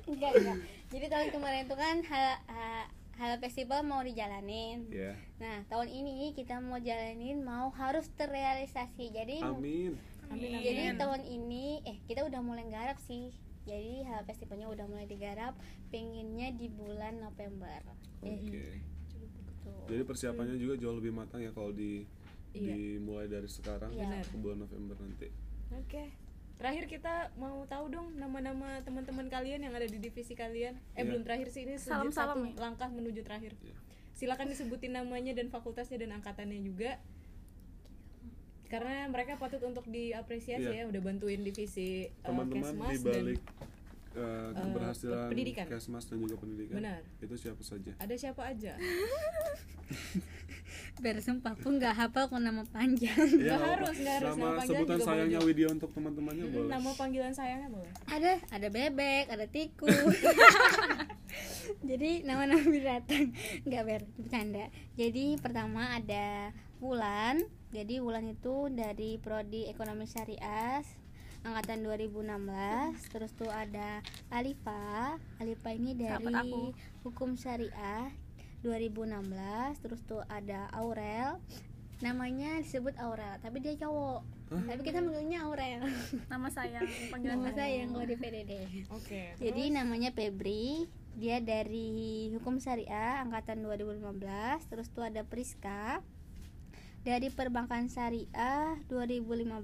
Speaker 3: enggak enggak jadi tahun kemarin itu kan hal ha- hal festival mau dijalanin
Speaker 2: Iya.
Speaker 1: Ya.
Speaker 3: nah tahun ini kita mau jalanin mau harus terrealisasi jadi
Speaker 2: Iya.
Speaker 1: Amin.
Speaker 3: jadi tahun ini eh kita udah mulai garap sih jadi hal festivalnya udah mulai digarap pengennya di bulan November
Speaker 2: Eh, iya.
Speaker 3: Gitu.
Speaker 1: Oke.
Speaker 3: tuh
Speaker 1: Jadi persiapannya juga jauh lebih matang ya kalau di
Speaker 2: Iya. Eh,
Speaker 1: dimulai dari sekarang
Speaker 3: Iya.
Speaker 1: ke bulan November nanti.
Speaker 2: oke terakhir kita mau tahu dong nama-nama teman-teman kalian yang ada di divisi kalian
Speaker 1: Iya.
Speaker 2: eh belum terakhir sih ini sejauh
Speaker 4: Salam-salam
Speaker 2: satu
Speaker 4: ya.
Speaker 2: langkah menuju terakhir
Speaker 1: Iya.
Speaker 2: silakan disebutin namanya dan fakultasnya dan angkatannya juga karena mereka patut untuk diapresiasi
Speaker 1: Iya.
Speaker 2: ya udah bantuin divisi uh,
Speaker 1: Teman-teman
Speaker 2: Kesmas
Speaker 1: di
Speaker 2: dan-
Speaker 1: balik eh, keberhasilan
Speaker 2: pendidikan.
Speaker 1: Kesmas dan juga pendidikan.
Speaker 2: Benar.
Speaker 1: Itu siapa saja?
Speaker 2: ada siapa aja
Speaker 3: bersumpah aku nggak hafal kok nama panjang
Speaker 1: Iya,
Speaker 2: Nggak
Speaker 1: apa-apa.
Speaker 2: harus, nggak harus.
Speaker 1: Nama
Speaker 2: Nama panggilan
Speaker 1: sebutan
Speaker 2: juga boleh
Speaker 1: sayangnya
Speaker 2: juga.
Speaker 1: Widya untuk teman-temannya
Speaker 2: Mm,
Speaker 1: boleh.
Speaker 2: nama panggilan sayangnya boleh
Speaker 3: ada ada bebek ada tikus jadi nama-nama binatang nggak ber bercanda jadi pertama ada Wulan jadi Wulan itu dari prodi ekonomi syariah angkatan
Speaker 4: Hmm.
Speaker 3: 2016 terus tuh ada Alifa Alifa ini dari
Speaker 4: Sahabat aku.
Speaker 3: hukum syariah 2016 terus tuh ada Aurel namanya disebut Aurel tapi dia cowok tapi kita manggilnya Aurel
Speaker 4: nama saya panggilan
Speaker 3: nama
Speaker 4: saya Iya.
Speaker 3: saya yang gue di PDD
Speaker 2: oke
Speaker 3: jadi namanya Febri, dia dari Hukum Syariah angkatan 2015, terus tuh ada Priska dari Perbankan Syariah 2015,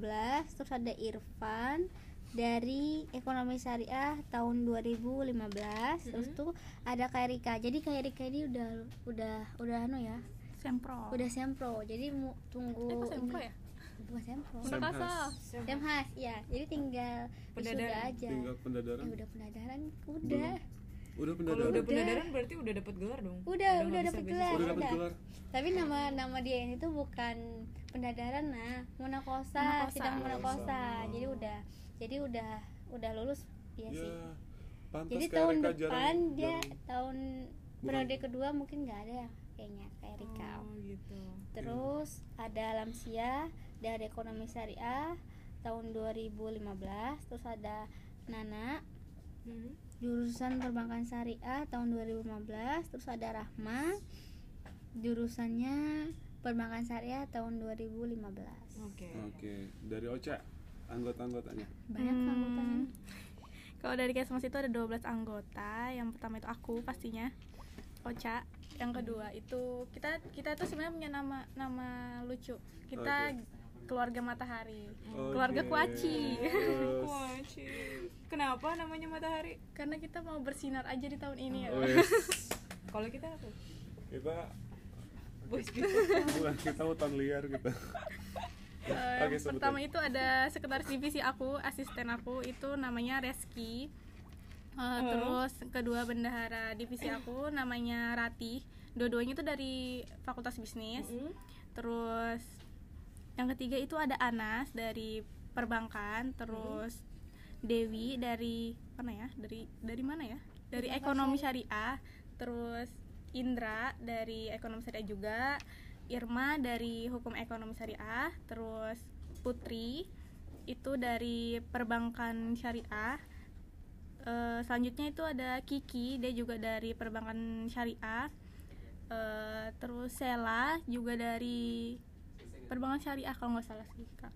Speaker 3: terus ada Irfan dari Ekonomi Syariah tahun 2015, terus
Speaker 4: Hmm.
Speaker 3: tuh ada Kairika. Jadi Kairika ini udah udah udah anu ya,
Speaker 4: sempro
Speaker 3: udah sempro. Jadi mu- tunggu
Speaker 4: Eh, kok Oh. sempro
Speaker 3: ini-
Speaker 4: ya
Speaker 3: Bukan sempro.
Speaker 1: Sem-
Speaker 4: Untakasa.
Speaker 3: Semhas, ya. Jadi tinggal
Speaker 2: Pendadaran.
Speaker 3: wisuda aja.
Speaker 1: Tinggal pendadaran.
Speaker 3: Ya udah pendadaran,
Speaker 1: Belum.
Speaker 3: udah.
Speaker 1: Udah
Speaker 2: kalau udah
Speaker 1: pendadaran.
Speaker 2: pendadaran berarti udah dapat gelar dong
Speaker 3: Udah, udah
Speaker 2: nggak
Speaker 3: dapat
Speaker 2: bisa
Speaker 3: gelar.
Speaker 2: beasiswa.
Speaker 1: Udah dapat
Speaker 3: udah.
Speaker 1: gelar.
Speaker 3: tapi nama nama dia ini tuh bukan pendadaran nah
Speaker 4: Munakosa.
Speaker 3: munakosa sidang munakosa jadi udah jadi udah udah lulus dia
Speaker 1: Ya.
Speaker 2: Iya
Speaker 3: sih
Speaker 1: Pantas
Speaker 3: jadi
Speaker 1: Ya, kayak
Speaker 3: tahun
Speaker 1: Reka
Speaker 3: depan
Speaker 1: jarang-
Speaker 3: dia
Speaker 1: jarang-
Speaker 3: tahun
Speaker 1: Bukan.
Speaker 3: periode kedua mungkin nggak ada ya kayaknya kayak Rika
Speaker 2: oh gitu
Speaker 3: terus ada Lamsia dari ekonomi syariah tahun 2015 terus ada Nana
Speaker 2: Mhm.
Speaker 3: jurusan perbankan syariah tahun 2015 terus ada Rahma jurusannya perbankan syariah tahun 2015
Speaker 2: oke
Speaker 1: Oke, dari Ocha anggota-anggotanya.
Speaker 3: banyak
Speaker 4: Hmm.
Speaker 3: anggotanya
Speaker 4: Kalau dari Kesmas itu ada 12 anggota. Yang pertama itu aku pastinya. Ocha. Yang kedua itu kita kita itu sebenarnya punya nama nama lucu. Kita keluarga matahari.
Speaker 1: Oke.
Speaker 4: Keluarga kuaci.
Speaker 1: Terus,
Speaker 2: Wah, Ci. kenapa namanya matahari
Speaker 4: Karena kita mau bersinar aja di tahun ini ya.
Speaker 1: wes,
Speaker 2: kalau kita apa
Speaker 1: kita
Speaker 2: boys
Speaker 1: bukan kita hutan liar gitu. kita.
Speaker 4: Eh,
Speaker 1: Oke, sebutin.
Speaker 4: pertama itu ada sekretaris divisi aku, asisten aku itu namanya Reski. Eh, Terus kedua bendahara divisi aku namanya Ratih. Dua-duanya itu dari Fakultas Bisnis. Terus yang ketiga itu ada Anas dari perbankan, terus Dewi dari mana ya? Dari dari mana ya? Dari ekonomi syariah, terus Indra dari ekonomi syariah juga, Irma dari hukum ekonomi syariah, terus Putri itu dari perbankan syariah. Eh, selanjutnya itu ada Kiki, dia juga dari perbankan syariah. Eh, terus Sela juga dari perbankan syariah kalau nggak salah sih kak.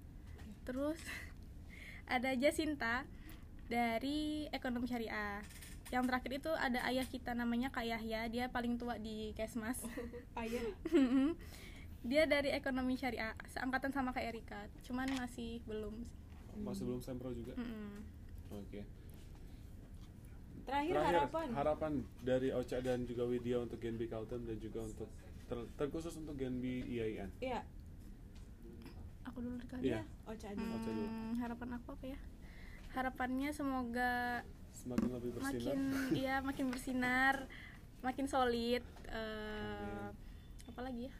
Speaker 4: Terus ada Jasinta dari ekonomi syariah. Yang terakhir itu ada ayah kita namanya Kak Yahya, dia paling tua di Kesmas.
Speaker 2: Ayah.
Speaker 4: dia dari ekonomi syariah, seangkatan sama Kak Erika, cuman masih belum.
Speaker 1: Masih belum sempro juga.
Speaker 4: Mm-mm.
Speaker 1: Oke.
Speaker 2: Terakhir,
Speaker 1: Terakhir,
Speaker 2: harapan.
Speaker 1: dari Ocha dan juga Widya untuk Genbi Kaltem dan juga untuk ter- terkhusus untuk Genbi IAIN.
Speaker 2: Iya.
Speaker 4: Aku dulu kali
Speaker 1: Iya,
Speaker 4: ya.
Speaker 2: Ocha aja.
Speaker 1: Ocha dulu.
Speaker 4: Hmm, harapan aku apa ya? Harapannya semoga
Speaker 1: Semakin lebih bersinar.
Speaker 4: makin iya makin bersinar, makin solid. eh apa lagi ya?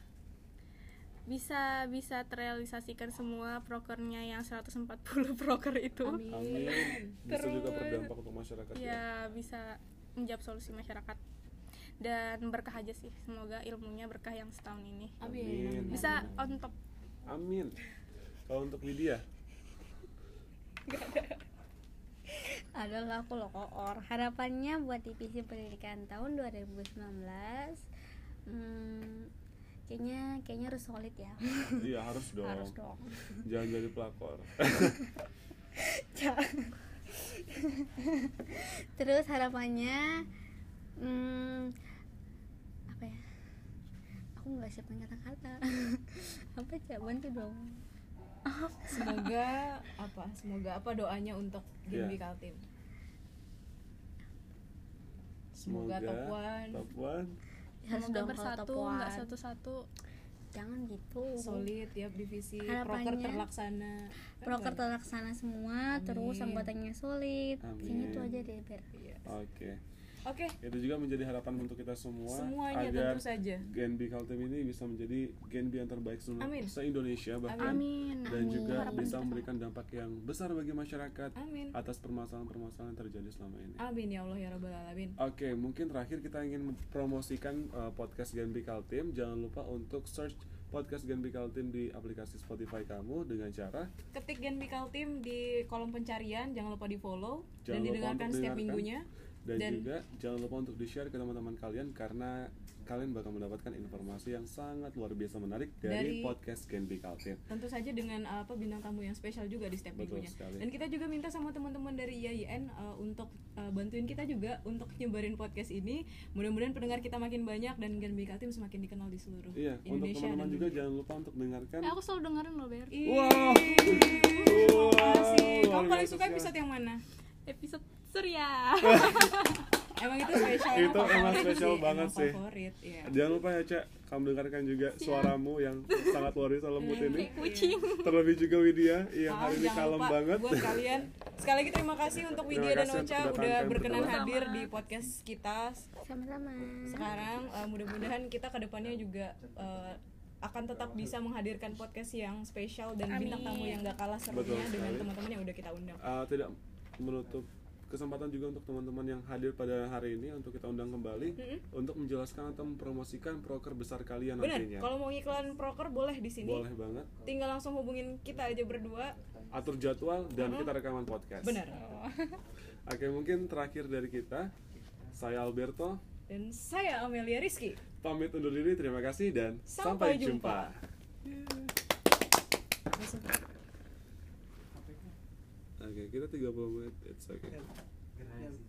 Speaker 4: Bisa bisa terrealisasikan semua prokernya yang 140 proker itu.
Speaker 1: Amin. Bisa juga
Speaker 4: Terus.
Speaker 1: berdampak untuk masyarakat. ya.
Speaker 4: ya bisa menjawab solusi masyarakat dan berkah aja sih semoga ilmunya berkah yang setahun ini
Speaker 2: Amin.
Speaker 1: Amin.
Speaker 4: bisa on top
Speaker 1: Amin. Kalau untuk Widya,
Speaker 3: adalah Hmm. aku loh koor harapannya buat divisi pendidikan tahun 2019 hmm, kayaknya kayaknya harus solid ya
Speaker 1: iya harus dong.
Speaker 3: harus dong
Speaker 1: Jangan jadi pelakor.
Speaker 3: terus harapannya hmm, apa ya aku nggak siapin kata-kata apa ya bantu dong
Speaker 2: Semoga apa? Semoga apa doanya untuk Genbi
Speaker 1: Iya.
Speaker 2: Kaltim. Semoga, top one,
Speaker 1: Top one.
Speaker 3: harus
Speaker 4: semoga
Speaker 3: dong kalau
Speaker 4: bersatu
Speaker 3: Ya, top
Speaker 4: nggak
Speaker 3: one.
Speaker 4: satu-satu
Speaker 3: jangan gitu
Speaker 2: solid tiap divisi, proker
Speaker 3: Harapannya-
Speaker 2: terlaksana.
Speaker 3: proker terlaksana semua
Speaker 2: Amin.
Speaker 3: terus anggotanya solid kayaknya
Speaker 1: Amin.
Speaker 3: itu aja deh Ber.
Speaker 2: Iya.
Speaker 1: Oke.
Speaker 2: Oke,
Speaker 1: Itu juga menjadi harapan untuk kita semua
Speaker 2: semuanya
Speaker 1: agar
Speaker 2: tentu saja.
Speaker 1: Genbi Kaltim ini bisa menjadi Genbi yang terbaik seluruh
Speaker 2: Amin.
Speaker 1: se Indonesia bahkan
Speaker 4: amin
Speaker 1: dan juga
Speaker 4: Harapan
Speaker 1: bisa
Speaker 4: kita
Speaker 1: memberikan dampak yang besar bagi masyarakat
Speaker 2: Amin.
Speaker 1: atas permasalahan-permasalahan yang terjadi selama ini.
Speaker 2: Amin ya Allah ya Rabbal Alamin.
Speaker 1: Oke, mungkin terakhir kita ingin mempromosikan uh, podcast Genbi Kaltim. Jangan lupa untuk search podcast Genbi Kaltim di aplikasi Spotify kamu dengan cara
Speaker 2: Ketik Genbi Kaltim di kolom pencarian, jangan lupa di follow
Speaker 1: Jangan
Speaker 2: dan
Speaker 1: lupa
Speaker 2: didengarkan
Speaker 1: untuk
Speaker 2: setiap
Speaker 1: dengarkan.
Speaker 2: minggunya.
Speaker 1: dan,
Speaker 2: Dan-
Speaker 1: juga jangan lupa untuk di-share ke teman-teman kalian karena kalian bakal mendapatkan informasi yang sangat luar biasa menarik dari,
Speaker 2: Dari-
Speaker 1: podcast Genbi Kaltim.
Speaker 2: tentu saja dengan eh, apa bintang tamu yang spesial juga di setiap
Speaker 1: Betul
Speaker 2: minggunya
Speaker 1: sekali.
Speaker 2: dan kita juga minta sama teman-teman dari IAIN eh, untuk eh, bantuin kita juga untuk nyebarin podcast ini mudah-mudahan pendengar kita makin banyak dan Gen BK Team semakin dikenal di seluruh
Speaker 1: Iya, untuk
Speaker 2: Indonesia
Speaker 1: teman-teman
Speaker 2: dan
Speaker 1: juga
Speaker 2: dunia.
Speaker 1: jangan lupa untuk dengarkan
Speaker 4: Eh, aku selalu dengerin loh Ber
Speaker 2: Ih,
Speaker 1: Wow.
Speaker 2: terima kasih.
Speaker 1: Wow,
Speaker 2: kamu
Speaker 1: luar
Speaker 2: paling
Speaker 1: biasa
Speaker 2: suka
Speaker 1: sekali.
Speaker 2: episode yang mana
Speaker 4: episode surya
Speaker 2: emang itu spesial
Speaker 1: Itu emang
Speaker 2: favorit
Speaker 1: spesial
Speaker 2: sih,
Speaker 1: banget
Speaker 2: emang
Speaker 1: sih.
Speaker 2: favorit ya
Speaker 1: Jangan lupa ya Cak, kamu dengarkan juga suaramu yang sangat luar biasa lembut
Speaker 2: Iya,
Speaker 1: ini
Speaker 4: kayak kucing
Speaker 1: Terlebih juga Widya, yang
Speaker 2: Ah,
Speaker 1: hari ini
Speaker 2: jangan
Speaker 1: kalem
Speaker 2: lupa
Speaker 1: banget
Speaker 2: buat kalian sekali lagi terima kasih untuk
Speaker 1: Terima
Speaker 2: Widya dan
Speaker 1: kasih untuk
Speaker 2: Ocha udah
Speaker 1: kedatangan
Speaker 2: berkenan
Speaker 1: berdua.
Speaker 2: hadir di podcast kita
Speaker 3: sama-sama
Speaker 2: sekarang eh, mudah-mudahan kita kedepannya juga eh, akan tetap bisa menghadirkan podcast yang spesial dan bintang tamu yang gak kalah
Speaker 1: Betul
Speaker 2: serunya
Speaker 1: sekali.
Speaker 2: dengan teman-teman yang udah kita undang.
Speaker 1: Eh, Tidak menutup kesempatan juga untuk teman-teman yang hadir pada hari ini Untuk kita undang kembali Untuk menjelaskan atau mempromosikan proker besar kalian
Speaker 2: Benar,
Speaker 1: nantinya
Speaker 2: kalau mau iklan proker boleh di sini.
Speaker 1: Boleh banget
Speaker 2: Tinggal langsung hubungin kita aja berdua.
Speaker 1: Atur jadwal dan kita rekaman podcast
Speaker 2: Benar.
Speaker 1: Oke mungkin terakhir dari kita Saya Alberto
Speaker 2: Dan saya Amelia Rizky.
Speaker 1: Pamit undur diri, terima kasih dan
Speaker 2: Sampai
Speaker 1: sampai jumpa.
Speaker 2: jumpa.
Speaker 1: Oke, kita 30 menit, it's okay.